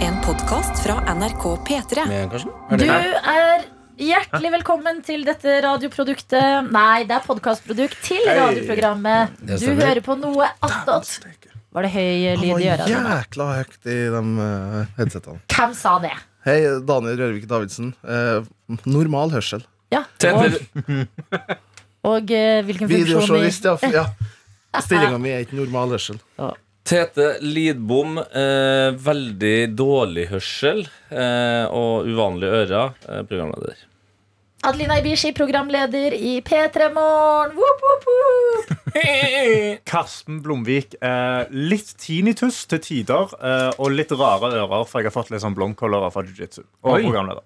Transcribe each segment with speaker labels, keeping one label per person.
Speaker 1: En podkast fra NRK P3.
Speaker 2: med, kanskje? Er
Speaker 3: Du
Speaker 2: det-
Speaker 3: er hjertelig velkommen til dette radioproduktet Nei, det er podkastprodukt til radioprogrammet.
Speaker 2: Det
Speaker 3: Du
Speaker 2: stemmer.
Speaker 3: hører på noe attåt. Var det høy lyd i øra? dine?
Speaker 4: jækla høyt i de eh, headsetene.
Speaker 3: Hvem sa det?
Speaker 4: Hei, Daniel Rørvik Davidsen. Eh, normal hørsel.
Speaker 3: Ja. Og,
Speaker 2: Tenner.
Speaker 3: og eh, hvilken funksjon i
Speaker 4: Videojournalist, ja. f- ja. Stillinga mi er ikke normal hørsel.
Speaker 2: Tete Lidbom, eh, veldig dårlig hørsel eh, og uvanlige ører, eh, programleder.
Speaker 3: Adelina Ibishi, programleder i P3 Morgen. Woop, woop, woop.
Speaker 5: Karsten Blomvik. Eh, litt tinnitus til tider, eh, og litt rare ører, for jeg har fått litt sånn blomkålører fra jiu-jitsu. Og
Speaker 6: Oi.
Speaker 5: programleder.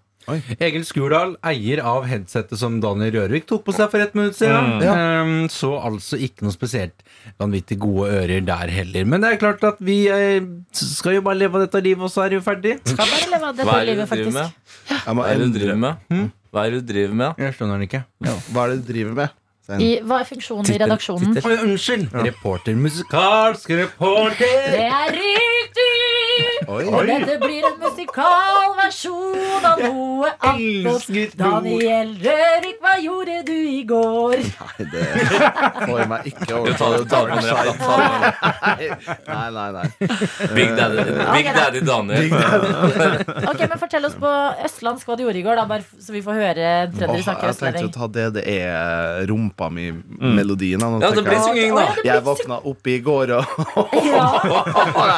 Speaker 6: Egil Skurdal, eier av headsetet som Daniel Rørvik tok på seg for ett minutt siden. Ehm, så altså ikke noe spesielt vanvittig gode ører der heller. Men det er klart at vi eh, skal jo bare leve av dette livet, og så er det jo ferdig.
Speaker 3: Ja, bare leve av dette
Speaker 2: Hva er det du
Speaker 3: livet,
Speaker 2: driver
Speaker 3: faktisk.
Speaker 2: med?
Speaker 4: Jeg må
Speaker 2: Hva er det du
Speaker 4: endre.
Speaker 2: driver med? Hm? Hva er det du driver med?
Speaker 6: Jeg skjønner den ikke.
Speaker 4: Hva er det du driver med?
Speaker 3: I, hva er funksjonen i redaksjonen?
Speaker 6: Oi, unnskyld! Reporter. Musikalsk reporter!
Speaker 3: Det er riktig! Og dette blir en musikalversjon av noe annet.
Speaker 6: Elsket ord.
Speaker 3: Daniel Rørik, hva gjorde du i går?
Speaker 4: Nei, det får jeg meg ikke
Speaker 2: Du,
Speaker 4: over.
Speaker 2: ta det- ta det med deg, da. Ta det
Speaker 4: Nei, nei, nei.
Speaker 2: med deg. Big Daddy, Big Daddy Daniel.
Speaker 3: Ok, men Fortell oss på østlandsk hva du gjorde i går, da, bare f- så vi får høre
Speaker 4: Åh,
Speaker 3: trøndere snakke
Speaker 4: jeg tenkte
Speaker 3: østlending.
Speaker 4: å ta det. Det er eh, rumpa mi, melodien. da. Nå
Speaker 2: Mm. Ja, det
Speaker 4: tenker
Speaker 2: blir
Speaker 4: jeg-
Speaker 2: synging,
Speaker 3: Å, ja,
Speaker 2: da.
Speaker 3: det
Speaker 4: Jeg
Speaker 3: blir-
Speaker 4: våkna opp i går og
Speaker 3: Ja,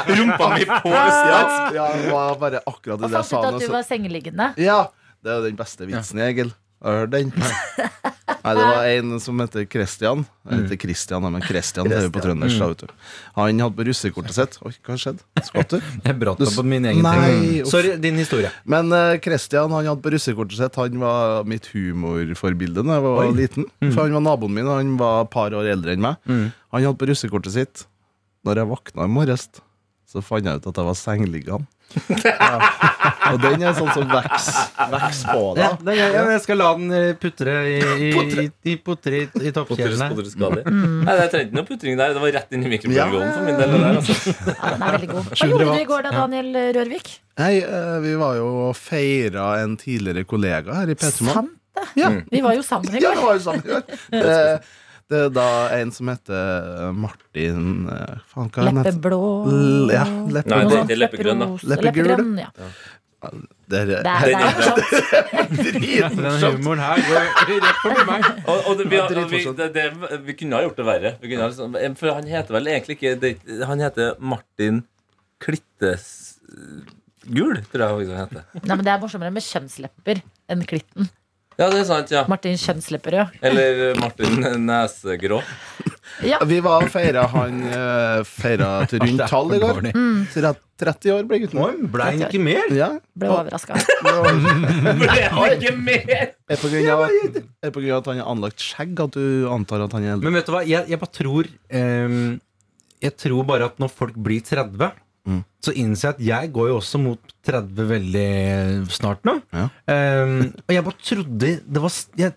Speaker 2: Rumpa mi på
Speaker 4: ja, Det var bare akkurat det
Speaker 3: og
Speaker 4: jeg
Speaker 3: fant
Speaker 4: sa.
Speaker 3: ut
Speaker 4: nå,
Speaker 3: at du
Speaker 4: så-
Speaker 3: var sengeliggende.
Speaker 4: Ja, det er jo den beste vitsen, Egil. Har du hørt den? Nei, det var en som heter Christian. Jeg heter Christian, nei, men Mm. Christian det er jo på trøndersk. da, vet du. Han hadde på russekortet sitt Oi, hva skjedde? Skvatt du?
Speaker 6: Jeg brått meg på min egen
Speaker 4: Nei,
Speaker 6: ting.
Speaker 4: uff.
Speaker 6: Sorry, din historie.
Speaker 4: Men eh, Christian han hadde på russekortet sitt Han var mitt humorforbilde da jeg var liten. For han var naboen min, og han var et par år eldre enn meg. Han hadde på russekortet sitt Når jeg våkna i morges, så fant jeg ut at jeg var sengeliggende. Og den er sånn som vokser vokser på
Speaker 6: Ja,
Speaker 4: deg.
Speaker 6: det er greit. Ja, jeg skal la den eh, putre i, i, i, i, putre i, i toppkjelen her.
Speaker 2: Potreskade. Nei, jeg trengte ikke noe putring der. Det var rett inn i mikrofonen for min del. det Der, altså.
Speaker 3: Ja, den er veldig god. Hva gjorde du i går da, Daniel Rørvik?
Speaker 4: Nei, eh, vi var jo og feira en tidligere kollega her i Petermann.
Speaker 3: Sant det.
Speaker 4: Ja.
Speaker 3: Vi var jo sammen i
Speaker 4: ja, det
Speaker 3: går.
Speaker 4: var jo sant. Ja. Eh, Det er da en som heter Martin eh, Faen, hva er han heter?
Speaker 3: Leppeblå
Speaker 4: L- ja, leppe-
Speaker 2: Nei,
Speaker 3: Noe
Speaker 2: det-
Speaker 3: sånt.
Speaker 2: det er leppegrønn, da.
Speaker 3: Lepperos-
Speaker 4: Leppegrønn.
Speaker 3: Leppegrønn, ja.
Speaker 4: Det er-
Speaker 3: Det er, det er sant.
Speaker 6: Den humoren her går rett forbi meg.
Speaker 2: Og, og det, vi, har- og vi,
Speaker 4: Dritmorsomt.
Speaker 2: det, det, vi kunne ha gjort det verre. Vi kunne ha, liksom- for han heter vel egentlig ikke det, Han heter Martin Klittes Gul, tror jeg faktisk han heter.
Speaker 3: Nei, men Det er morsommere med kjønnslepper enn klitten.
Speaker 2: Ja, det er sant, ja.
Speaker 3: Martin Kjønnslepperød.
Speaker 2: Eller eh, Martin Nesegrå.
Speaker 4: Vi var og feira han eh, feira til rundt tall i går. Tre- 30 år ble gutten.
Speaker 6: Oi, ble han ikke mer?
Speaker 4: Ja.
Speaker 3: Ble overraska.
Speaker 4: Er på grunn av at, er på grunn av at han har anlagt skjegg at du antar at han er eldre?
Speaker 6: Men vet du hva, jeg, jeg bare tror ehm, Jeg tror bare at når folk blir 30
Speaker 4: Mm.
Speaker 6: Så innser jeg at jeg går jo også mot 30 veldig snart nå
Speaker 4: Ja.
Speaker 6: Ehm, Og jeg bare trodde Det var s- jeg,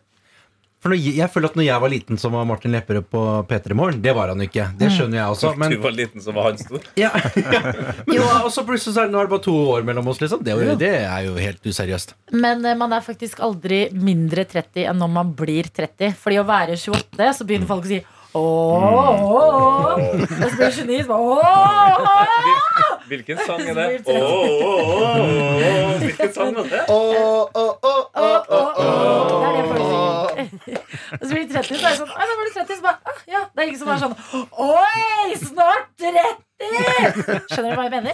Speaker 6: For når, jeg- jeg føler at når jeg var liten så var Martin Lepperød på P3 Morgen Det var han ikke, det
Speaker 4: Mm.
Speaker 6: skjønner jeg også Men,
Speaker 2: Du var liten, så var han stor.
Speaker 6: ja, ja. Men nå, og så plutselig så er det, nå er det bare to år mellom oss liksom. det, er jo- det er jo helt useriøst
Speaker 3: Men eh, man er faktisk aldri mindre 30 enn når man blir 30. Fordi å være 28, så begynner folk å si ååå. Og så blir du 29, så bare ååå.
Speaker 2: Hvilken sang er det? Åh, åh, åh, åh, Hvilken sang var det?
Speaker 3: Det er det folk sier. Og så blir de 30, så er det sånn Oi, nå var du 30. Så bare «Ah, Ja. Det er ingen som er sånn Oi, snart 30! Skjønner du hva jeg mener?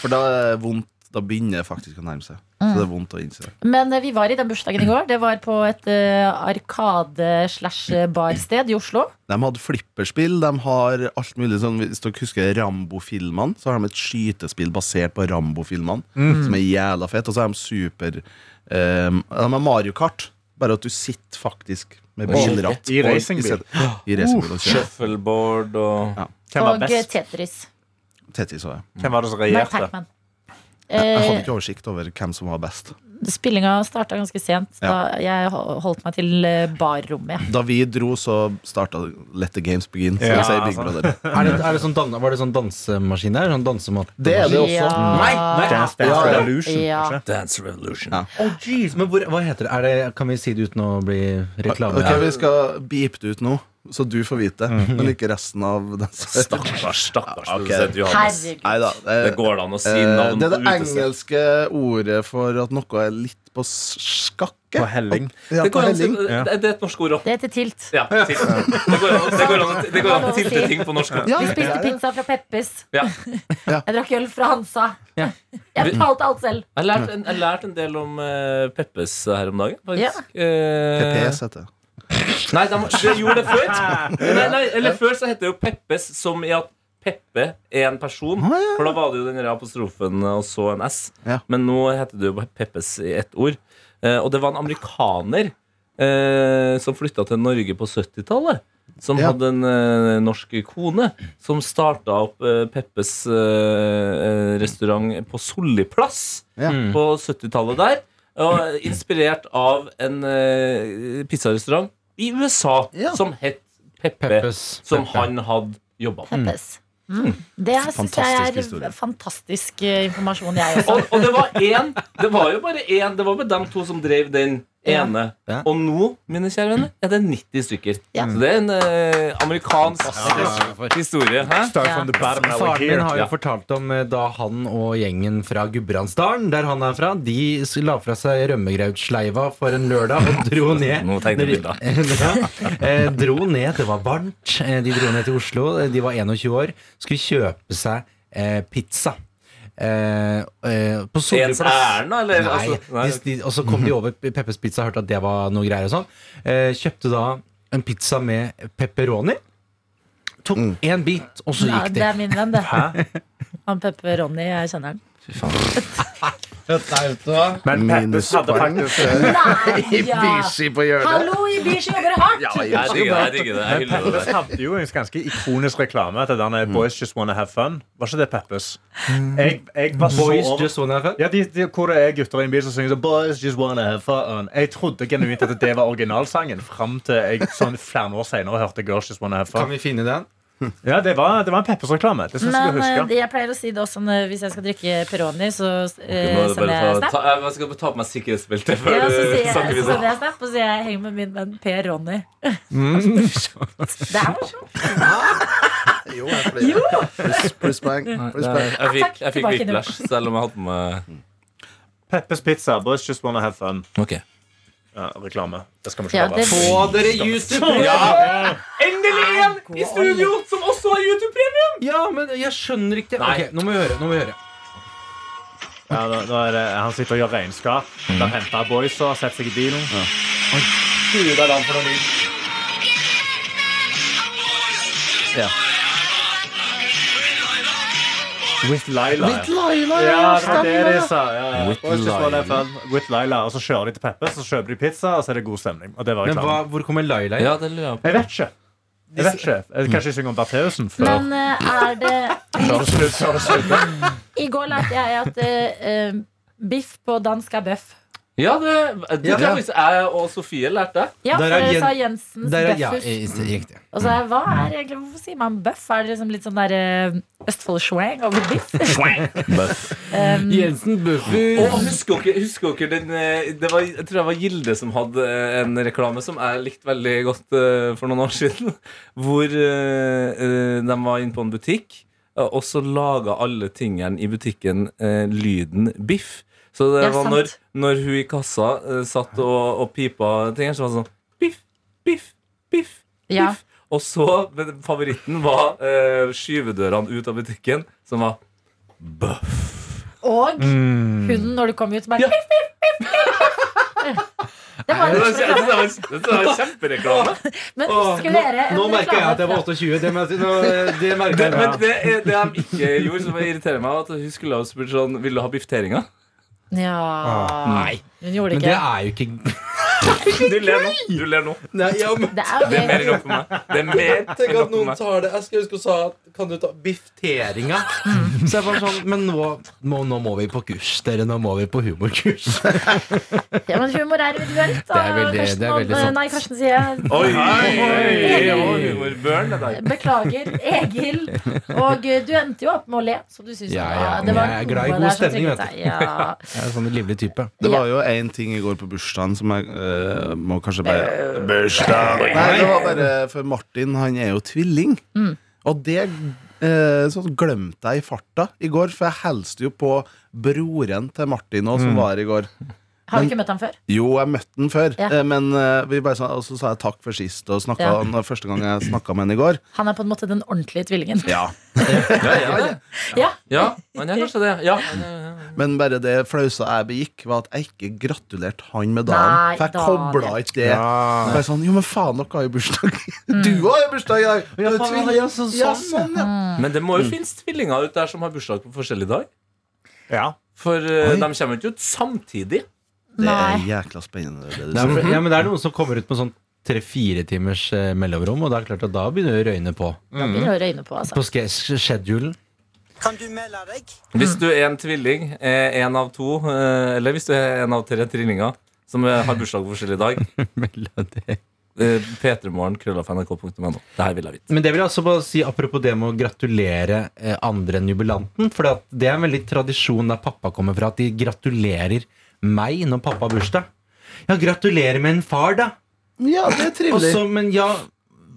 Speaker 4: For da er det vondt. Da begynner det faktisk å nærme seg. Så det er vondt å innse.
Speaker 3: Men eh, vi var i den bursdagen i går. Det var på et eh, arkade-slash-barsted i Oslo.
Speaker 4: De hadde flipperspill, de har alt mulig sånn Hvis dere husker Rambo-filmene, så har de et skytespill basert på Rambo-filmene, som er jævla fett. Og så er de super ehm, De har Mario Kart, bare at du sitter faktisk med
Speaker 2: Oi.
Speaker 4: bilratt.
Speaker 5: I
Speaker 4: og-
Speaker 5: racingbil.
Speaker 4: i stedet- I racingbil og kjører.
Speaker 2: Shuffleboard og
Speaker 5: Hvem var
Speaker 3: Og eh,
Speaker 5: best?
Speaker 3: Tetris.
Speaker 4: Tetris også, ja.
Speaker 5: Hvem var det som
Speaker 3: Nei,
Speaker 5: regjerte?
Speaker 3: Pac-Man.
Speaker 4: Jeg
Speaker 3: eh,
Speaker 4: hadde ikke oversikt over hvem som var best.
Speaker 3: Spillinga starta ganske sent. Da jeg ho- holdt meg til eh, barrommet.
Speaker 4: Da vi dro, så starta Let the games begin. Skal
Speaker 5: Ja,
Speaker 4: vi si Big
Speaker 5: sant.
Speaker 4: Brother.
Speaker 6: Er det, er det sånn dan var det sånn dansemaskin der? Sånn dansemat?
Speaker 4: Det er det også.
Speaker 3: Nei,
Speaker 5: Dance Dance
Speaker 4: Ja, ja.
Speaker 5: Revolution,
Speaker 3: Ja.
Speaker 5: kanskje?
Speaker 2: Dance Revolution.
Speaker 4: Ja.
Speaker 6: Å, jeez, men hvor, hva heter det? Er det? Kan vi si det uten å bli reklame?
Speaker 4: Ok, Vi skal beepe det ut nå, så du får vite det. Men ikke resten av den
Speaker 2: Stakkars, stakkars
Speaker 4: Ja, ok.
Speaker 2: produsent Johannes.
Speaker 3: Herregud.
Speaker 4: Nei da.
Speaker 2: Det går da an å si
Speaker 4: Eh,
Speaker 2: navn
Speaker 4: Det er det
Speaker 2: på utestedet.
Speaker 4: engelske ordet for at noe er litt på skakke.
Speaker 5: På helling.
Speaker 4: Ja,
Speaker 2: Det
Speaker 4: på
Speaker 2: går an å si-
Speaker 4: helling.
Speaker 2: det- det er et norsk ord òg.
Speaker 3: Det heter tilt.
Speaker 2: Ja, tilt. det går an- det går an å- det går an å tilte ting på norsk òg.
Speaker 3: Vi
Speaker 4: Ja,
Speaker 5: Eh,
Speaker 4: det
Speaker 3: spiste
Speaker 4: er det.
Speaker 3: pizza fra Peppes.
Speaker 2: Ja.
Speaker 3: Jeg drakk øl fra Hansa.
Speaker 6: Ja.
Speaker 3: Jeg betalte alt selv.
Speaker 2: Jeg lærte en, jeg lærte en del om eh, Peppes her om dagen, faktisk. Eh,
Speaker 4: PPS heter det.
Speaker 2: Nei, de, de gjorde det før. Nei, nei, eller før så het det jo Peppes, som i at Peppe er en person. For da var det jo den der apostrofen og så en S.
Speaker 4: Ja.
Speaker 2: Men nå heter det jo bare Peppes i ett ord. Eh, og det var en amerikaner eh, som flytta til Norge på 70-tallet. Som
Speaker 4: Ja.
Speaker 2: hadde en eh, norsk kone som starta opp eh, Peppes eh, eh, restaurant på Solliplass
Speaker 4: Ja.
Speaker 6: Mm.
Speaker 2: på 70-tallet der. Og inspirert av en eh, pizzarestaurant i USA
Speaker 4: Ja.
Speaker 2: som het Peppe,
Speaker 6: Peppes.
Speaker 2: som
Speaker 6: Peppe.
Speaker 2: han hadde jobba på.
Speaker 3: Peppes. Mm. Det syns jeg
Speaker 4: Fantastisk
Speaker 3: er
Speaker 4: historie.
Speaker 3: fantastisk eh, informasjon, jeg også.
Speaker 2: Og, og det var én Det var jo bare én. Det var bare dem to som drev den ene.
Speaker 6: Ja.
Speaker 2: Og nå, mine kjære venner, er det 90 stykker.
Speaker 3: Ja.
Speaker 2: Så det er en eh, amerikansk historie. Hæ?
Speaker 5: Start
Speaker 3: Ja.
Speaker 5: from the bottom, now we're
Speaker 6: Faren min
Speaker 5: here.
Speaker 6: har jo
Speaker 2: Ja.
Speaker 6: fortalt om eh, da han og gjengen fra Gudbrandsdalen, der han er fra, de s- la fra seg rømmegrautsleiva for en lørdag og dro ned.
Speaker 2: Nå tenkte jeg bildet.
Speaker 6: ja, eh, dro ned, det var varmt. Eh, De dro ned til Oslo, eh, de var 21 år, skulle kjøpe seg eh, pizza. Eh, eh, på
Speaker 2: Ens
Speaker 6: Solliplass.
Speaker 2: ærend,
Speaker 6: Nei,
Speaker 2: eller?
Speaker 6: Mhm.
Speaker 2: Altså, nei.
Speaker 6: de, de, og så kom de over P- Peppers Pizza, hørte at det var noe greier og sånn. Eh, kjøpte da en pizza med pepperoni. Tok én bit, og så
Speaker 3: Ja,
Speaker 6: gikk
Speaker 3: det
Speaker 6: de.
Speaker 3: er min venn, det. Han Pepperoni, jeg kjenner han.
Speaker 5: Men Peppes hadde
Speaker 4: Minuspoeng.
Speaker 5: faktisk eh,
Speaker 3: Nei, ja.
Speaker 4: Bishi på hjørnet.
Speaker 3: Hallo, Ibishi jobber hardt!
Speaker 2: Jeg digger det. Jeg digger det. Jeg hyller det.
Speaker 5: Peppes hadde jo en ganske ikonisk reklame til denne
Speaker 6: Mm.
Speaker 5: Boys Just Wanna Have Fun. Var ikke det Peppes? Jeg, jeg var så
Speaker 6: Boys
Speaker 5: over-
Speaker 6: just wanna have fun.
Speaker 5: ja, de, de, hvor det er gutter i en bil som synger så Boys just wanna have fun Jeg trodde genuint at det var originalsangen Frem til jeg sånn flere år senere hørte Girls just wanna have
Speaker 6: Kan
Speaker 5: fun
Speaker 6: vi finne den?
Speaker 5: Ja, det var, det var en Peppes-reklame Det synes jeg
Speaker 3: Men
Speaker 5: du
Speaker 3: eh,
Speaker 5: husker
Speaker 3: det- jeg pleier å si det også når, hvis jeg skal drikke Peroni, så
Speaker 2: Jeg
Speaker 3: eh,
Speaker 2: må
Speaker 3: sender jeg
Speaker 2: bare ta,
Speaker 3: snap.
Speaker 2: ta, jeg skal ta på meg sikkerhetsbeltet før
Speaker 3: Ja,
Speaker 2: du
Speaker 3: så sier jeg, så
Speaker 2: snakker
Speaker 3: sender
Speaker 2: videre.
Speaker 3: jeg snap, og så sier jeg henger med min venn Per Ronny. Det er morsomt.
Speaker 4: Jo, jeg blir- Pluss- Plusspoeng. Plusspoeng.
Speaker 2: Jeg
Speaker 3: Takk,
Speaker 2: fikk, jeg fikk
Speaker 3: tilbake
Speaker 2: hvit
Speaker 3: nå.
Speaker 2: flash, selv om jeg hadde på meg
Speaker 5: Peppes pizza, Boys just wanna have fun
Speaker 2: Ok.
Speaker 5: ja, Reklame Det skal vi
Speaker 3: Ja,
Speaker 5: ikke
Speaker 3: det-
Speaker 5: ha
Speaker 6: Få dere YouTube!
Speaker 2: Endelig en i studio som også har YouTube-premium!
Speaker 6: Ja, men jeg skjønner ikke
Speaker 2: Nei.
Speaker 6: Ok, Nå må vi høre. nå må vi høre
Speaker 5: ja, nå, nå er det, Han sitter og gjør regnskap Han har hentet Boys og har sett seg i bilen With Laila With Laila, ja, det var det de sa ja, ja.
Speaker 2: With
Speaker 5: Boys just wanna have
Speaker 2: Laila.
Speaker 5: fun. With Laila Og så kjører de til Peppes Og så kjøper de pizza Og så er det god stemning Og det var
Speaker 6: Men
Speaker 5: reklamen
Speaker 6: hva, hvor kommer Laila inn?
Speaker 2: Ja, det lurer jeg på.
Speaker 5: Jeg vet ikke. Jeg vet ikke. Jeg Kanskje jeg synger om Bertheussen før
Speaker 3: Men eh, er det
Speaker 5: før det slutt- før det slutter.
Speaker 3: I går lærte jeg at eh, eh, biff på dansk er bøff.
Speaker 2: Ja, det, det
Speaker 6: Ja.
Speaker 2: tror jeg faktisk jeg og Sofie lærte.
Speaker 3: Ja,
Speaker 6: Der
Speaker 3: for
Speaker 6: er
Speaker 3: det
Speaker 6: Jen-
Speaker 3: sa Jensens
Speaker 6: Der er, ja,
Speaker 3: bøffhus.
Speaker 6: i- i- riktig.
Speaker 3: Og så er, hva er egentlig, Hvorfor sier man bøff? Er det liksom litt sånn der eh, Østfold-swang over biff? Um,
Speaker 6: Jensen Buffer.
Speaker 2: Og husker dere, husker dere den eh, det var, Jeg tror det var Gilde som hadde eh, en reklame som jeg likte veldig godt eh, for noen år siden. Hvor eh, eh, de var inne på en butikk, eh, og så laga alle tingene i butikken eh, lyden biff. Så det
Speaker 3: Ja,
Speaker 2: var
Speaker 3: sant.
Speaker 2: når, når hun i kassa eh, satt og, og pipa tingene, så var det sånn biff, biff, biff.
Speaker 3: ja.
Speaker 2: biff. Og så, men favoritten var eh, skyvedørene ut av butikken, som var
Speaker 3: Og
Speaker 5: Mm.
Speaker 6: Mm.
Speaker 3: hunden når du kom ut, som er
Speaker 2: Ja.
Speaker 3: biff, biff, biff, biff, biff. Det var
Speaker 2: Det
Speaker 3: en
Speaker 2: var,
Speaker 3: morsom reklame.
Speaker 2: kjempereklame.
Speaker 3: Men husker dere en
Speaker 6: Nå merker jeg
Speaker 3: reklame
Speaker 6: at jeg var
Speaker 3: fra-
Speaker 6: 28. Det, mer- nå- eh, det merker
Speaker 2: Det,
Speaker 6: jeg.
Speaker 2: men det, er- det de ikke gjorde, som irriterer meg, var at hun skulle ha spurt sånn Vil du ha bifteringer?
Speaker 3: Ja.
Speaker 6: Nei,
Speaker 3: Hun gjorde
Speaker 6: Ah. men det
Speaker 3: ikke det.
Speaker 6: er jo ikke
Speaker 2: Du ler nå. Du ler nå.
Speaker 6: Nei, ja, men
Speaker 3: Det er jo
Speaker 2: Det er mer
Speaker 3: det.
Speaker 2: enn nok for meg. Det er mer enn
Speaker 6: Tenk
Speaker 2: nok
Speaker 6: at
Speaker 2: for
Speaker 6: noen
Speaker 2: meg.
Speaker 6: tar det Jeg skal huske å sa at, Kan du ta bifteringa? Så jeg bare sånn, men nå, nå, nå må vi på kurs Dere, nå må vi på humorkurs
Speaker 3: Ja, men humor er individuelt. da,
Speaker 6: Det er veldig-
Speaker 3: Karsten
Speaker 6: det er veldig
Speaker 3: og-
Speaker 6: sant.
Speaker 3: Nei, Karsten sier jeg.
Speaker 2: Oi, oi, oi, humorbørn det der.
Speaker 3: Beklager, Egil. Og eh, du endte jo opp med å le, så du syns
Speaker 6: Ja, ja,
Speaker 3: det var
Speaker 6: men jeg er glad i
Speaker 3: noe
Speaker 6: god
Speaker 3: der som
Speaker 6: stemning,
Speaker 3: trigget
Speaker 6: vet
Speaker 3: deg. Ja.
Speaker 6: Jeg er sånn en livlig type
Speaker 4: Det var jo én ting i går på bursdagen som jeg eh, må kanskje
Speaker 2: Eh.
Speaker 4: bare Bursdagen! Nei, det var bare For Martin, han er jo tvilling.
Speaker 2: Mm.
Speaker 4: Og det eh, sånn glemte jeg i farta i går, for jeg hilste jo på broren til Martin òg,
Speaker 5: Mm.
Speaker 4: som var her i går.
Speaker 3: Har du ikke møtt ham før?
Speaker 4: Jo, jeg møtte han før,
Speaker 3: Ja.
Speaker 4: eh, men eh, vi bare sa, og så sa jeg takk for sist. Og snakket,
Speaker 3: Ja.
Speaker 4: han var første gang jeg snakka med han i går.
Speaker 3: Han er på en måte den ordentlige tvillingen.
Speaker 4: Ja.
Speaker 2: Ja, ja, ja.
Speaker 3: Ja,
Speaker 2: ja, han er kanskje det. Ja. han er-
Speaker 4: Men bare det flausa jeg begikk, var at jeg ikke gratulerte han med
Speaker 3: Nei,
Speaker 4: dagen. for jeg
Speaker 3: Daniel.
Speaker 4: kobla ikke det. Bare sånn, jo, men faen, dere har jo bursdag.
Speaker 3: Mm.
Speaker 4: Du har jo bursdag i dag!
Speaker 5: Ja,
Speaker 4: Du er
Speaker 5: faen,
Speaker 4: tvilling.
Speaker 5: ja, så-
Speaker 4: Ja,
Speaker 5: sånn,
Speaker 4: sånn, ja.
Speaker 2: Men det må jo finnes tvillinger ut der som har bursdag på forskjellig dag.
Speaker 5: Ja.
Speaker 2: For eh,
Speaker 4: Oi.
Speaker 2: de kommer ikke ut samtidig.
Speaker 4: Det er
Speaker 3: nei
Speaker 4: jækla spennende. Det du
Speaker 6: det er,
Speaker 4: sier.
Speaker 6: for- ja, men det er noen som kommer ut med sånn 3-4 timers eh, mellomrom Og det er klart at da begynner det å røyne på
Speaker 3: Da begynner det å røyne på, altså.
Speaker 6: På ske- schedulen
Speaker 7: Kan du melde deg?
Speaker 2: Hvis du er en tvilling, eh, en av to, eh, eller hvis du er en av tre trillinger som eh, har bursdag på forskjellig dag
Speaker 6: Melodi.
Speaker 2: eh, P3morgen, krøllafnrk.no. Det her vil jeg vite.
Speaker 6: Men det vil jeg også bare si apropos det med å gratulere eh, andre enn jubilanten. For det er en veldig tradisjon der pappa kommer fra, at de gratulerer meg når pappa har bursdag. Ja, gratulerer med en far, da!
Speaker 4: Ja, det er
Speaker 6: Og
Speaker 4: trivelig.
Speaker 6: så, men ja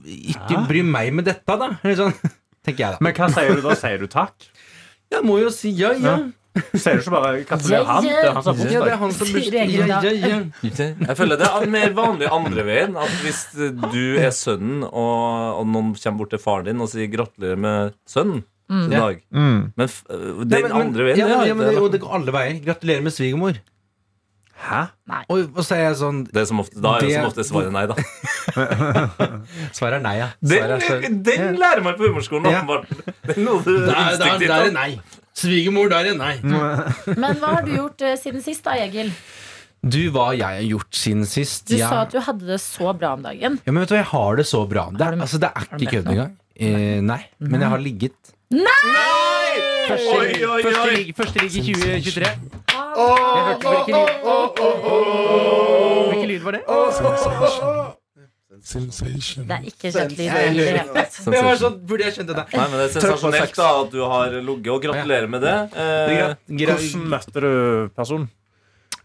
Speaker 6: Ikke bry meg med dette, da! Eller sånn, tenker jeg, da.
Speaker 5: Men hva sier du da? Sier du takk?
Speaker 6: Jeg må jo si ja, ja.
Speaker 5: Sier du ikke bare gratulerer han? Det er han som har
Speaker 6: Ja, det er
Speaker 5: bursdag.
Speaker 6: han som har
Speaker 3: Sier
Speaker 6: bursdag. Ja,
Speaker 3: Egil da.
Speaker 6: ja, ja.
Speaker 2: Jeg føler det er mer vanlig andre veien. At hvis eh, du er sønnen, og, og noen kommer bort til faren din og sier 'gratulerer med sønnen' i dag Men f eh, den
Speaker 6: Mm. Ja, men- men-
Speaker 2: andre veien
Speaker 6: ja,
Speaker 2: det
Speaker 6: men,
Speaker 2: har
Speaker 6: ja, men,
Speaker 2: ikke-
Speaker 6: det, og det går alle veier. Gratulerer med svigermor.
Speaker 5: Hæ?
Speaker 6: Og, og så er jeg sånn
Speaker 2: det er som ofte, Da er jo
Speaker 6: Det-
Speaker 2: som ofte svaret nei, da.
Speaker 6: Svaret er nei, ja.
Speaker 2: Den,
Speaker 6: Svaret er så-
Speaker 2: den lærer man på humorskolen,
Speaker 6: Ja.
Speaker 2: åpenbart. Det er noe du
Speaker 6: Der, der,
Speaker 2: instinktivt
Speaker 6: der er nei. Svigermor, der er nei.
Speaker 3: Men hva har du gjort eh, siden sist, da, Egil?
Speaker 6: Du, hva jeg har gjort siden sist
Speaker 3: Du
Speaker 6: jeg,
Speaker 3: sa at du hadde det så bra om dagen.
Speaker 6: Ja, men vet du hva, jeg har det så bra Det er, altså, det er
Speaker 3: du
Speaker 6: ikke
Speaker 3: meldt
Speaker 6: kødd
Speaker 3: noe?
Speaker 6: engang eh, Nei, men jeg har ligget Første,
Speaker 2: Oi, oi,
Speaker 6: første,
Speaker 2: oi.
Speaker 6: ligg, første ligg i 2023 Jeg hørte
Speaker 3: Ah,
Speaker 6: hvilken lyd Hvilken lyd var det?
Speaker 3: Det er ikke kjent lyd.
Speaker 6: Nei,
Speaker 3: egentlig.
Speaker 6: jeg Det var sånn, burde jeg skjønt det
Speaker 2: Nei, men det er sensasjonelt da at du har ligget, og gratulerer med det. Eh,
Speaker 5: Hvordan møtte du personen?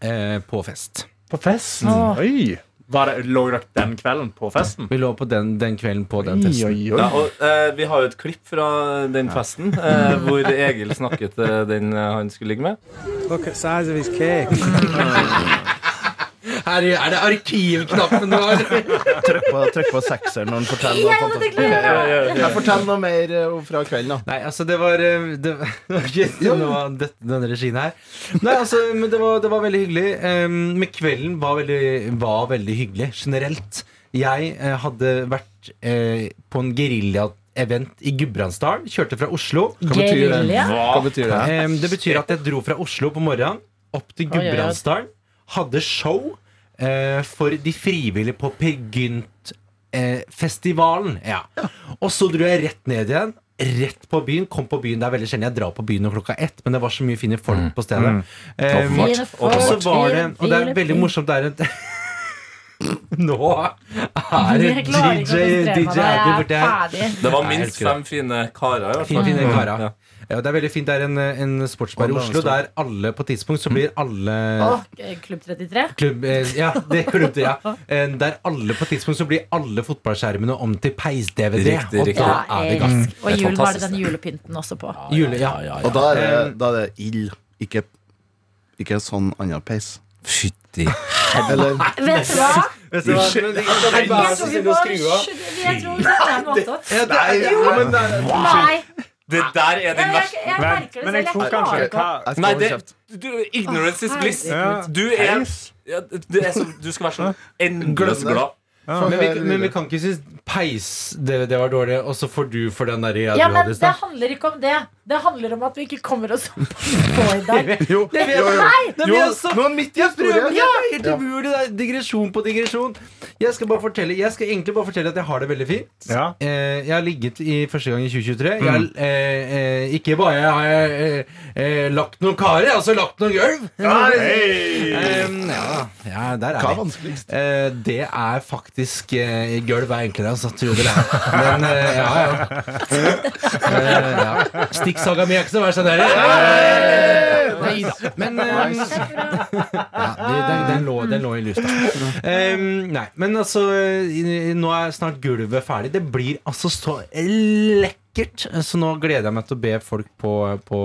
Speaker 6: eh, På fest
Speaker 5: På festen.
Speaker 3: Åh.
Speaker 5: Oi. Var det, lå dere den kvelden på festen?
Speaker 6: Vi lå på den, den kvelden på den festen
Speaker 2: ja, og eh, Vi har jo et klipp fra den festen eh, hvor Egil snakket til den eh, han skulle ligge med.
Speaker 8: Look at size of his cake.
Speaker 6: Her er det arkivknappen du har
Speaker 4: Trykk på, trykk på sekseren når han forteller noe fantastisk. Jeg forteller noe mer eh, om- fra kvelden, da.
Speaker 6: Nei, altså det var eh, Det var ikke noe av dette- denne regien her Nei, altså, men det var, det var veldig hyggelig um, Men kvelden var veldig, var veldig hyggelig Generelt Jeg eh, hadde vært eh, på en guerilla-event i Gudbrandsdal Kjørte fra Oslo
Speaker 3: Gerilja?
Speaker 4: Hva betyr det?
Speaker 6: Em, det betyr at jeg dro fra Oslo på morgenen opp til
Speaker 3: Oi, oi, oi.
Speaker 6: Gudbrandsdalen. Hadde show eh, for de frivillige på Per Gynt-festivalen. ja. Og så dro jeg rett ned igjen. Rett på byen. Kom på byen. Det er veldig sjelden jeg drar på byen når klokka er ett, men det var så mye fine folk på stedet. Em,
Speaker 2: Åpenbart.
Speaker 3: Fine folk,
Speaker 6: og så var det Og det er
Speaker 3: fine
Speaker 6: veldig
Speaker 3: folk.
Speaker 6: morsomt. Det er et Nå er det
Speaker 3: Jeg klarer ikke å
Speaker 6: DJ
Speaker 3: konsentrere
Speaker 6: DJ
Speaker 3: meg nå. Jeg
Speaker 6: Abdi
Speaker 3: er
Speaker 6: borti her.
Speaker 3: ferdig.
Speaker 2: Det var
Speaker 6: Nei, jeg
Speaker 2: minst
Speaker 6: elsker
Speaker 2: fem fine karer. i hvert
Speaker 6: Fine,
Speaker 2: fall.
Speaker 6: fine karer.
Speaker 2: Ja.
Speaker 6: Mm. Ja, det er veldig fint. Det er en, en sportsbar i
Speaker 4: Og
Speaker 6: Oslo
Speaker 4: dansbar.
Speaker 6: der alle på et tidspunkt så blir alle
Speaker 3: Åh, Klubb 33?
Speaker 6: klubb... eh, Ja, det er klubb, ja. Eh, Der alle på et tidspunkt så blir alle fotballskjermene om til peis-DVD.
Speaker 2: Riktig,
Speaker 6: Og
Speaker 2: riktig.
Speaker 6: da er
Speaker 3: Ja,
Speaker 6: det
Speaker 3: jeg
Speaker 6: gass.
Speaker 3: elsker. Og
Speaker 2: Det er
Speaker 3: jul var det
Speaker 2: fantastisk,
Speaker 3: den
Speaker 2: det.
Speaker 3: julepynten også på.
Speaker 6: Jule, ja.
Speaker 4: Og da er det, da er det ild, ikke, ikke sånn annen peis.
Speaker 2: Fytti.
Speaker 4: Eller
Speaker 3: Vet du hva?
Speaker 6: Vet du hva? Men det- det er bare
Speaker 3: Jeg
Speaker 6: så
Speaker 3: tror vi
Speaker 6: snill
Speaker 3: må
Speaker 6: å skru av.
Speaker 3: Jeg tror det er noe annet.
Speaker 6: Ja, det er-
Speaker 3: Jo,
Speaker 6: men det er-
Speaker 3: Nei,
Speaker 2: Det der er
Speaker 3: jeg,
Speaker 2: den
Speaker 3: jeg,
Speaker 2: verste.
Speaker 3: jeg merker det
Speaker 5: Men jeg
Speaker 3: selv.
Speaker 5: tror
Speaker 3: Jeg klarer
Speaker 5: kanskje
Speaker 3: ikke å-
Speaker 5: hva-
Speaker 4: jeg skal
Speaker 2: Nei,
Speaker 4: holde
Speaker 2: det,
Speaker 4: kjeft.
Speaker 2: du, ignorance is bliss.
Speaker 5: Ja.
Speaker 2: Du er, ja, du, er så, du skal være så
Speaker 4: Glem
Speaker 2: endeløst
Speaker 4: det.
Speaker 2: glad.
Speaker 6: Men vi, men vi kan ikke synes peis, det, det var dårlig, og så får du for den der ja,
Speaker 3: Ja,
Speaker 6: du
Speaker 3: men
Speaker 6: hadde i
Speaker 3: det
Speaker 6: stad.
Speaker 3: handler ikke om det. Det handler om at vi ikke kommer oss opp på i dag.
Speaker 4: Jo,
Speaker 6: Det vet
Speaker 4: jo, jo.
Speaker 3: Nei!
Speaker 6: Nei, men
Speaker 4: Jo,
Speaker 6: jeg så-
Speaker 4: nå er midt i
Speaker 6: Jeg prøver,
Speaker 4: historien.
Speaker 6: jeg er helt umulig. Det er digresjon på digresjon. Jeg skal, bare fortelle, jeg skal egentlig bare fortelle at jeg har det veldig fint.
Speaker 5: Ja.
Speaker 6: Eh, jeg har ligget i første gang i 2023. Jeg, har, eh, eh, ikke bare har jeg eh, eh, lagt noen karer, jeg har også lagt noen gulv. Em, ja, ja, der er vi.
Speaker 4: Hva er vanskeligst?
Speaker 6: Eh, det er faktisk eh, Gulv er enklere, altså. Tror dere det? Men eh, ja, ja. Eh, ja. Stikksaga mi er ikke så verst, den der. Neida. Men eh, ja, det- den, den, lå, den lå i lufta. Em, nei, men altså i- i- Nå er snart gulvet ferdig. Det blir altså så lekkert. Så nå gleder jeg meg til å be folk på, på,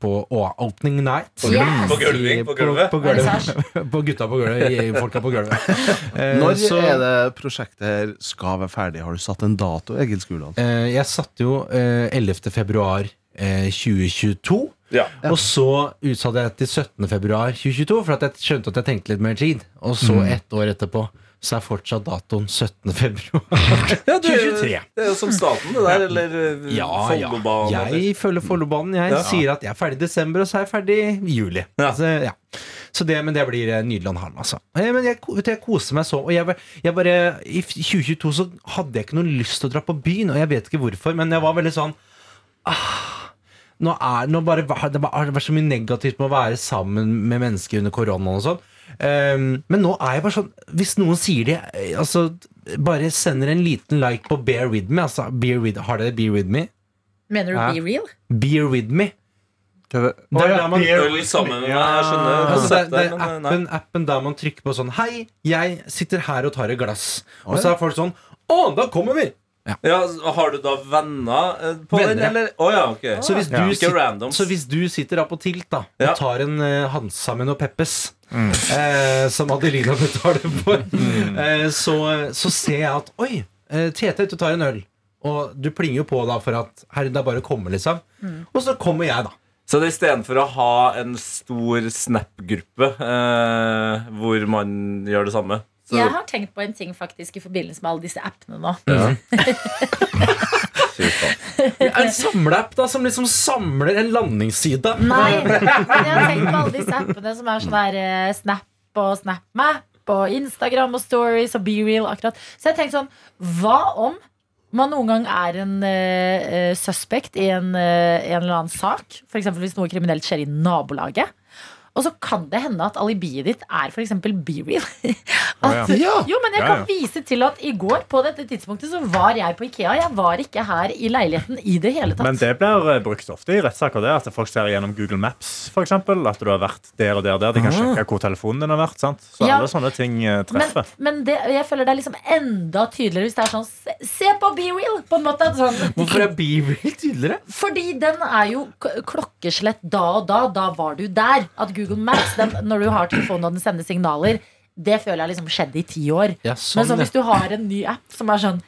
Speaker 6: på å- opening night.
Speaker 3: Yes!
Speaker 2: På gulving, på
Speaker 6: På-
Speaker 2: gulvet.
Speaker 6: På,
Speaker 3: Vernissasje.
Speaker 6: gulvet. på gutta på gulvet. i- Folka på gulvet. Eh,
Speaker 4: Når
Speaker 6: så-
Speaker 4: er det prosjektet her skal være ferdig? Har du satt en dato, Egil Skuland?
Speaker 6: Eh, jeg satte jo eh, 11. februar eh, 2022.
Speaker 2: Ja.
Speaker 6: Og så utsatte jeg til 17. februar 2022, for at jeg skjønte at jeg tenkte litt mer tid. Og så ett år etterpå, så er fortsatt datoen 17. februar.
Speaker 2: Ja, det, er jo-
Speaker 6: 2023.
Speaker 2: det er jo som staten, det der. Eller eh,
Speaker 6: Ja, ja.
Speaker 2: Follobanen. eller-
Speaker 6: Jeg følger Follobanen. Jeg
Speaker 2: Ja.
Speaker 6: sier at jeg er ferdig i desember, og så er jeg ferdig i juli.
Speaker 2: Ja.
Speaker 6: Så, ja. så det, men det blir eh, Nydland havn, altså. Eh, Men jeg, vet du, jeg koser meg så. Og jeg, var- jeg bare I 2022 så hadde jeg ikke noe lyst til å dra på byen, og jeg vet ikke hvorfor, men jeg var veldig sånn ah, nå er, nå bare, var- det har vært så mye negativt med å være sammen med mennesker under koronaen og sånn. Ehm, men nå er jeg bare sånn Hvis noen sier det eh, altså, Bare sender en liten like på Bear With Me. Altså, bear with, har dere Bear With Me?
Speaker 3: Mener du
Speaker 6: Hæ?
Speaker 3: be real?
Speaker 6: Beer with me.
Speaker 5: Å,
Speaker 6: Der
Speaker 5: ja,
Speaker 6: der man,
Speaker 5: beer-
Speaker 2: Øl sammen med meg, jeg skjønner
Speaker 6: altså, det,
Speaker 2: konseptet,
Speaker 6: det er
Speaker 2: men, eh, nei.
Speaker 6: appen, appen der man trykker på sånn Hei, jeg sitter her og tar et glass. Og så er folk sånn Å, da kommer vi!
Speaker 2: Ja, har du da venner eh, på den,
Speaker 6: Venner, ja.
Speaker 2: eller? Å ja, ok.
Speaker 6: Så hvis, du
Speaker 2: ja. Ikke
Speaker 6: sitter,
Speaker 2: randoms.
Speaker 6: så hvis du sitter da på tilt da
Speaker 2: Ja.
Speaker 6: og tar en eh, Hansa med noe Peppes, eh, som Adelina betaler for, eh, så, så ser jeg at Oi, eh, Tete er ute og tar en øl. Og du plinger jo på da for at Herre, det er bare å komme, liksom. Og så kommer jeg, da.
Speaker 2: Så det er istedenfor å ha en stor Snap-gruppe eh, hvor man gjør det samme så,
Speaker 3: Jeg har tenkt på en ting faktisk i forbindelse med alle disse appene nå.
Speaker 6: En samleapp da, som liksom samler en landingsside.
Speaker 3: Nei, men jeg har tenkt på alle disse appene som er sånn der eh, Snap og SnapMap og Instagram og Stories og BeReal akkurat. Så jeg tenkte sånn, hva om man noen gang er en uh, suspect i en, eh, en eller annen sak? For eksempel hvis noe kriminelt skjer i nabolaget. Og så kan det hende at alibiet ditt er for eksempel BeReal. At,
Speaker 4: Ja.
Speaker 3: Jo, men jeg
Speaker 5: Ja,
Speaker 3: kan
Speaker 5: ja.
Speaker 3: vise til at i går på dette tidspunktet så var jeg på Ikea. Jeg var ikke her i leiligheten i det hele tatt.
Speaker 5: Men det blir eh, brukt ofte i rettssaker. det, At folk ser gjennom Google Maps, for eksempel, At du har vært der og der og der. De kan sjekke hvor telefonen din har vært. sant? Så
Speaker 3: Ah. Ja.
Speaker 5: alle sånne ting eh,
Speaker 3: Men,
Speaker 5: treffer.
Speaker 3: men det, jeg føler det er liksom enda tydeligere hvis det er sånn Se, se på Be Real! På en måte. Sånn.
Speaker 6: Hvorfor er Beavril tydeligere?
Speaker 3: Fordi den er jo k- klokkeslett da og da. Da var du der. At Google Maps, den, når du har telefonen og den sender signaler, det føler jeg liksom skjedde i ti år.
Speaker 6: Ja,
Speaker 3: men så hvis du har en ny app som er sånn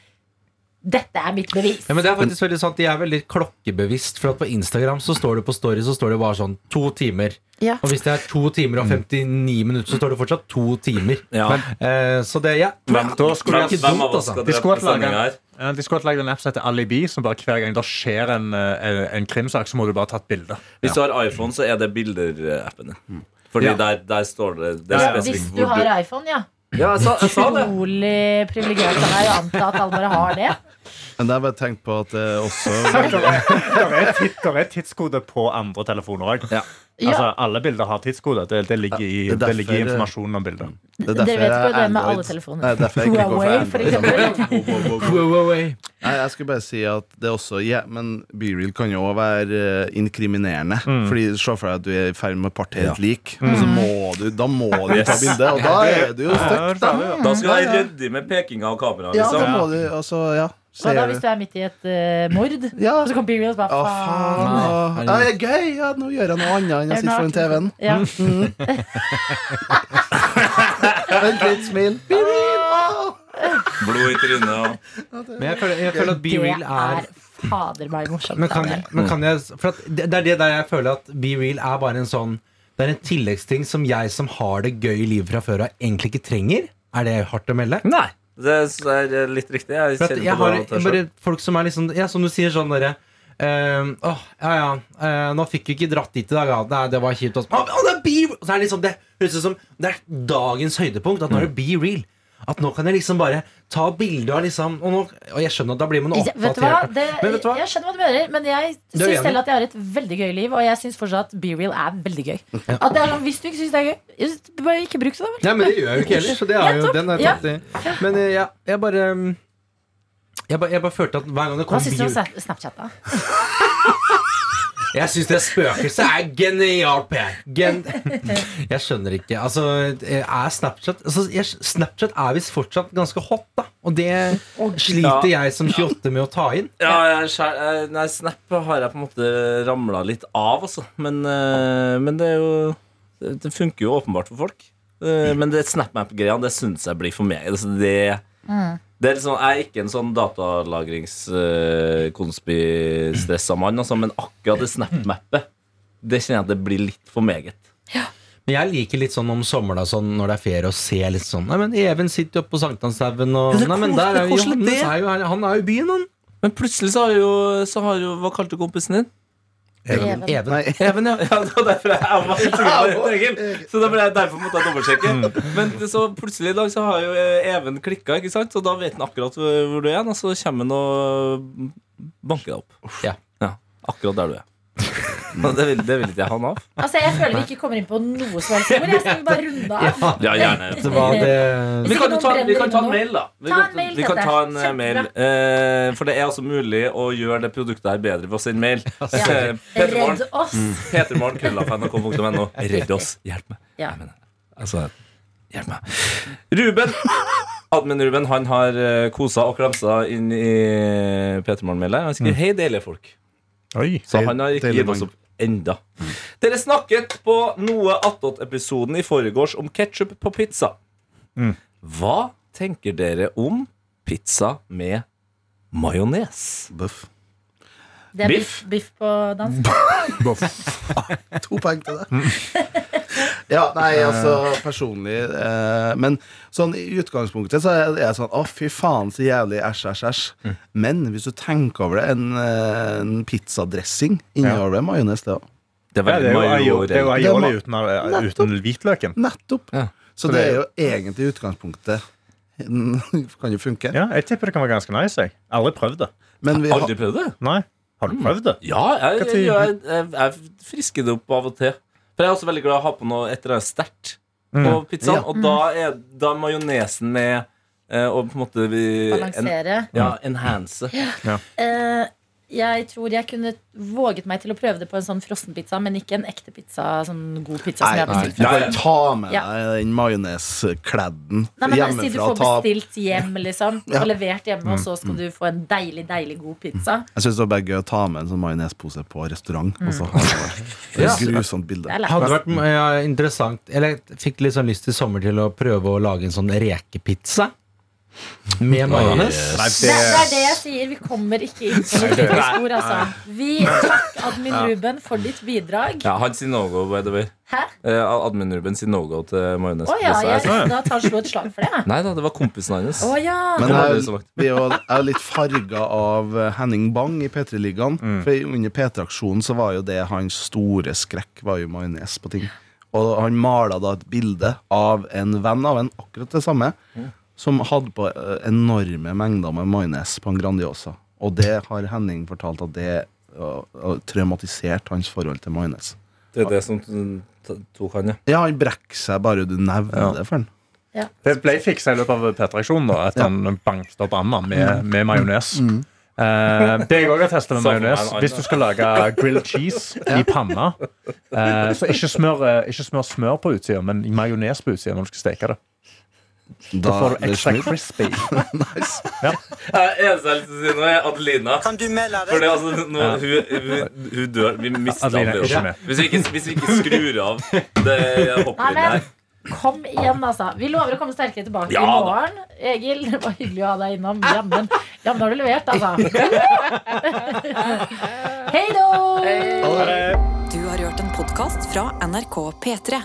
Speaker 3: Dette er mitt bevis.
Speaker 6: men det er faktisk veldig sant, De er veldig klokkebevisst. For at på Instagram så står det på story så står det bare sånn to timer.
Speaker 3: Ja.
Speaker 6: Og hvis det er to timer og 59 minutter, så står det fortsatt to timer.
Speaker 2: Ja.
Speaker 6: Eh, så det ja.
Speaker 2: hvem,
Speaker 5: Da skulle
Speaker 2: hvem,
Speaker 5: jeg
Speaker 6: ikke
Speaker 2: hvem
Speaker 6: dumt,
Speaker 2: av oss
Speaker 6: altså.
Speaker 2: skal
Speaker 5: De
Speaker 2: drepe på
Speaker 5: skulle hatt laget-
Speaker 2: sendinga her?
Speaker 5: Eh, De skulle hatt lagd en app som heter Alibi, som bare hver gang det skjer en, eh, en krimsak, så må du bare ta et bilde.
Speaker 2: Hvis du har iPhone, så er det bilder-appen din. Fordi
Speaker 5: Ja.
Speaker 2: der, der står det, det er
Speaker 5: Ja, ja.
Speaker 3: Hvis
Speaker 2: spesifikt
Speaker 3: du
Speaker 2: hvor
Speaker 3: har
Speaker 2: du
Speaker 3: iPhone, ja.
Speaker 2: Ja, jeg sa, jeg sa det.
Speaker 3: Utrolig privilegert av deg å anta at alle bare har det.
Speaker 4: Men jeg bare tenkte på at det også
Speaker 5: Det er, tids, der er tidskode på andre telefoner òg.
Speaker 2: Ja.
Speaker 5: Altså, alle bilder har tidskode. Det, det, ligger, i,
Speaker 4: Ja, det er
Speaker 5: det ligger i
Speaker 4: derfor-
Speaker 5: informasjonen om bildet.
Speaker 4: Det er
Speaker 3: Dere vet
Speaker 4: jeg
Speaker 3: ikke det med
Speaker 4: Android.
Speaker 3: alle telefoner.
Speaker 4: Nei, derfor jeg ikke går
Speaker 3: Huawei, for eksempel.
Speaker 4: Nei, jeg skulle bare si at det er også ja, Men B-reel kan jo også være eh, inkriminerende.
Speaker 6: Mm.
Speaker 4: Fordi Se for deg at du er i ferd med å partere et lik, og
Speaker 3: Mm.
Speaker 4: så må du, da må du ta bilde. Og da er du jo stuck, da.
Speaker 3: Mm.
Speaker 2: Da skal du være ryddig med pekinga av kameraet.
Speaker 4: Ja, da må
Speaker 2: Liksom.
Speaker 4: du altså, ja.
Speaker 3: Hva da
Speaker 4: Ser
Speaker 3: hvis
Speaker 4: du.
Speaker 3: du er midt i et eh, mord?
Speaker 4: Ja.
Speaker 3: Og så kommer Be Real og så
Speaker 4: Å,
Speaker 3: bare faen.
Speaker 4: faen. å. Ja, det er gøy! Ja, nå gjør jeg noe annet enn jeg sitter foran TV-en.
Speaker 3: Ja.
Speaker 4: Mm. Vent litt, smil. B-reel! Å.
Speaker 2: Blod i trynet og
Speaker 6: Men jeg føler, jeg føler at
Speaker 3: Det
Speaker 6: Beavril er
Speaker 3: er fader meg morsomt.
Speaker 6: men kan,
Speaker 3: Daniel.
Speaker 6: men kan jeg For at det, det er det der jeg føler at Be real er bare en sånn Det er en tilleggsting som jeg som har det gøy i livet fra før av, egentlig ikke trenger. Er det hardt å melde?
Speaker 2: Nei. Det er eh, litt riktig. Jeg
Speaker 6: For at
Speaker 2: kjenner
Speaker 6: jeg
Speaker 2: på
Speaker 6: har
Speaker 2: det. alt
Speaker 6: bare
Speaker 2: jeg selv.
Speaker 6: folk som er liksom Ja, som du sier sånn derre ehm, Åh, ja ja, eh, nå fikk vi ikke dratt dit i dag, ja. Nei, det var kjipt. Også. Åh, åh, det er be real! Og Så er det liksom det høres ut som det er dagens høydepunkt. At nå er det be real. At nå kan jeg liksom bare ta bilde av liksom Og, nå, og jeg skjønner at da blir man
Speaker 3: Ikke- Vet du hva?
Speaker 6: oppdatert.
Speaker 3: Det,
Speaker 6: Men vet du hva?
Speaker 3: Jeg skjønner hva du mener, men jeg
Speaker 6: er
Speaker 3: syns
Speaker 6: enig.
Speaker 3: selv at jeg har et veldig gøy liv. Og jeg syns fortsatt at BeReal er veldig gøy. At det er sånn, Hvis du ikke syns det er gøy, bare ikke bruk det, da vel.
Speaker 6: Nei, men det gjør jeg jo ikke heller, så det er jo,
Speaker 3: Nettopp,
Speaker 6: den er
Speaker 3: ja.
Speaker 6: tatt i. Men eh, jeg, jeg bare ehm, jeg bare, jeg bare følte at hver gang det
Speaker 3: Hva
Speaker 6: kom
Speaker 3: syns du om
Speaker 6: bio
Speaker 3: Snap- Snapchat, da?
Speaker 6: Jeg syns det spøkelset er genialt, Per. Gen jeg skjønner ikke. Altså, er Snapchat altså, jeg, Snapchat er visst fortsatt ganske hot, da. Og det sliter jeg som 28 med å ta inn.
Speaker 2: Ja, jeg, skjær- eh, nei, Snap har jeg på en måte ramla litt av, altså. Men, eh, men det er jo det- Det funker jo åpenbart for folk. Eh, Men det SnapMap-greia, det syns jeg blir for meg. Altså, det, det er liksom, jeg er ikke en sånn datalagringskonspistressa mann, altså, men akkurat det SnapMapet, det kjenner jeg at det blir litt for meget.
Speaker 6: Men jeg liker litt sånn om sommeren da, sånn, når det er ferie, og se litt sånn Nei, men Even sitter jo oppe på Sankthanshaugen, og
Speaker 2: Ja, det er
Speaker 6: Nei, men der
Speaker 2: kos- det er
Speaker 6: er jo
Speaker 2: koselig,
Speaker 6: Johannes
Speaker 2: det.
Speaker 6: er jo her. Han er jo i byen, han.
Speaker 2: Men plutselig så har jo, så har jo Hva kalte du kompisen din?
Speaker 3: Even.
Speaker 6: Even.
Speaker 4: Nei,
Speaker 2: Even, ja. ja. Det var derfor jeg, jeg var helt sikker på det, Egil. Så da ble jeg derfor måtte jeg dobbeltsjekke. Men så plutselig i dag så har jo eh, Even klikka, ikke sant? Så da vet han akkurat hvor du er, og så kommer han og banker deg opp.
Speaker 6: Ja.
Speaker 2: akkurat der du er. Men Det vil, det vil ikke jeg ha noe av.
Speaker 3: Altså, Jeg føler vi ikke kommer inn på noe som helst ord. Jeg skal bare runde av.
Speaker 6: Ja,
Speaker 2: Ja, gjerne.
Speaker 6: det var det
Speaker 2: Vi kan, jo ta, vi kan ta en mail, da. Vi
Speaker 3: Ta en
Speaker 2: kan,
Speaker 3: mail,
Speaker 2: vi kan
Speaker 3: Tete.
Speaker 2: ta en eh,
Speaker 3: Kjempebra.
Speaker 2: mail. Eh, for det er altså mulig å gjøre det produktet her bedre ved å sende mail. Eh,
Speaker 3: Redd
Speaker 2: Petermorgen,
Speaker 3: oss.
Speaker 4: Mm.
Speaker 2: Petermorgen, krøllafnrk.no. Redd oss. Hjelp meg.
Speaker 3: Ja.
Speaker 2: Altså, hjelp meg. Ruben. Admin Ruben han har eh, kosa og klamsa inn i P3morgen-mailet. Han skriver 'Hei, deilige folk'.
Speaker 5: Mm. Oi.
Speaker 2: Så han har ikke
Speaker 4: deilige
Speaker 2: gitt oss opp enda. Dere snakket på noe attåt-episoden i forgårs om ketsjup på pizza.
Speaker 5: Mm.
Speaker 2: Hva tenker dere om pizza med majones?
Speaker 4: bøff.
Speaker 3: Det er biff,
Speaker 2: Biff.
Speaker 3: biff på dans.
Speaker 4: To poeng til det. Ja, nei, altså personlig eh, Men sånn i utgangspunktet så er jeg sånn Å, fy faen, så jævlig æsj, æsj, æsj. Men hvis du tenker over det, en, eh, en pizzadressing inneholder det majones, det òg.
Speaker 2: Det er
Speaker 5: Ja, det er jo aio- det er jo
Speaker 2: majoreelt.
Speaker 5: aioli uten, uten hvitløken.
Speaker 4: Nettopp.
Speaker 2: Ja.
Speaker 4: Så det er jo egentlig i utgangspunktet Kan jo funke.
Speaker 5: Ja, jeg tipper det kan være ganske nice. Jeg aldri prøvd det.
Speaker 4: Men vi har
Speaker 2: Aldri prøvd det?
Speaker 5: Nei, Har du prøvd det?
Speaker 2: Ja, jeg, jeg, jeg, jeg, jeg frisker det opp av og til. For jeg er også veldig glad i å ha på noe et eller annet sterkt på pizzaen.
Speaker 4: Ja.
Speaker 2: Og da er, da er majonesen med eh, og på en måte vi, en,
Speaker 3: Balansere.
Speaker 2: Ja, enhance.
Speaker 3: Eh, jeg tror jeg kunne våget meg til å prøve det på en sånn frossenpizza, men ikke en ekte pizza. Sånn god pizza som
Speaker 4: Nei,
Speaker 3: jeg har
Speaker 4: nei,
Speaker 3: bestilt.
Speaker 4: du kan ta med
Speaker 3: Ja.
Speaker 4: deg den majoneskledden
Speaker 3: Nei, men Si du
Speaker 4: hjemmefra.
Speaker 3: får
Speaker 4: Ta...
Speaker 3: bestilt hjem, liksom,
Speaker 4: Ja.
Speaker 3: og levert hjemme, og så skal du få en deilig, deilig god pizza.
Speaker 4: Jeg syns det er bare gøy å ta med en sånn majonespose på restaurant. Og
Speaker 3: Mm.
Speaker 4: så har det det er et grusomt
Speaker 3: Det
Speaker 4: bilde.
Speaker 3: er
Speaker 6: hadde
Speaker 3: lættis.
Speaker 6: vært ja, interessant Eller jeg fikk litt sånn lyst i sommer til å prøve å lage en sånn rekepizza med majones.
Speaker 5: Nei,
Speaker 3: Det,
Speaker 5: det,
Speaker 3: det er det jeg sier. Vi kommer ikke inn på noe kritisk spor, altså. Vi Takk, Admin Ruben, for ditt bidrag.
Speaker 2: Ja, han sier no go, by the way.
Speaker 3: Hæ?
Speaker 2: Eh, Admin Ruben sier no go til majones.
Speaker 3: Å ja,
Speaker 2: Jeg
Speaker 3: jeg,
Speaker 2: sa-
Speaker 3: da tar slo et slag for det. jeg.
Speaker 2: Nei da, det var kompisen hans.
Speaker 3: Å ja.
Speaker 4: Men
Speaker 2: Det var det
Speaker 4: jeg,
Speaker 2: som var-
Speaker 4: vi er jo, jeg er jo litt farga av eh, Henning Bang i P3-ligaen.
Speaker 2: Mm.
Speaker 4: For under P3-aksjonen så var jo det hans store skrekk, var jo majones på ting. Og han mala da et bilde av en venn av en, akkurat det samme,
Speaker 2: Mm.
Speaker 4: som hadde på eh, enorme mengder med majones på en Grandiosa. Og det har Henning fortalt at det uh, traumatiserte hans forhold til majones.
Speaker 2: Det er det som t- tok han, ja.
Speaker 4: Ja, han brekker seg bare du nevner det for han.
Speaker 5: det ble fiksa i løpet av P3-aksjonen. da, At han banket opp Anna med, med majones. Eh, det jeg òg har testa med
Speaker 2: Så for meg
Speaker 5: majones
Speaker 2: en annen.
Speaker 5: Hvis du skal lage grilled cheese i panna, eh, så ikke smør, eh, ikke smør smør på utsida, men majones på utsida når du skal steke det. Da får du
Speaker 4: det
Speaker 5: ekstra
Speaker 4: smil.
Speaker 5: crispy.
Speaker 2: Eneste jeg har lyst til å si nå, er Adelina.
Speaker 7: Kan du melde deg?
Speaker 2: For det, er altså, nå, hun, hun, hun dør. Vi mister
Speaker 5: Adelina
Speaker 2: Adelina.
Speaker 5: er ikke med.
Speaker 2: Hvis, vi ikke, hvis vi ikke skrur av det
Speaker 3: Nei, men
Speaker 2: hopprennet her
Speaker 3: kom igjen, altså. Vi lover å komme sterkere tilbake
Speaker 2: Ja,
Speaker 3: i
Speaker 2: da.
Speaker 3: morgen. Egil, det var hyggelig å ha deg innom. Jammen, jammen har du levert, altså. Hei då!
Speaker 1: Du har hørt en podkast fra NRK P3.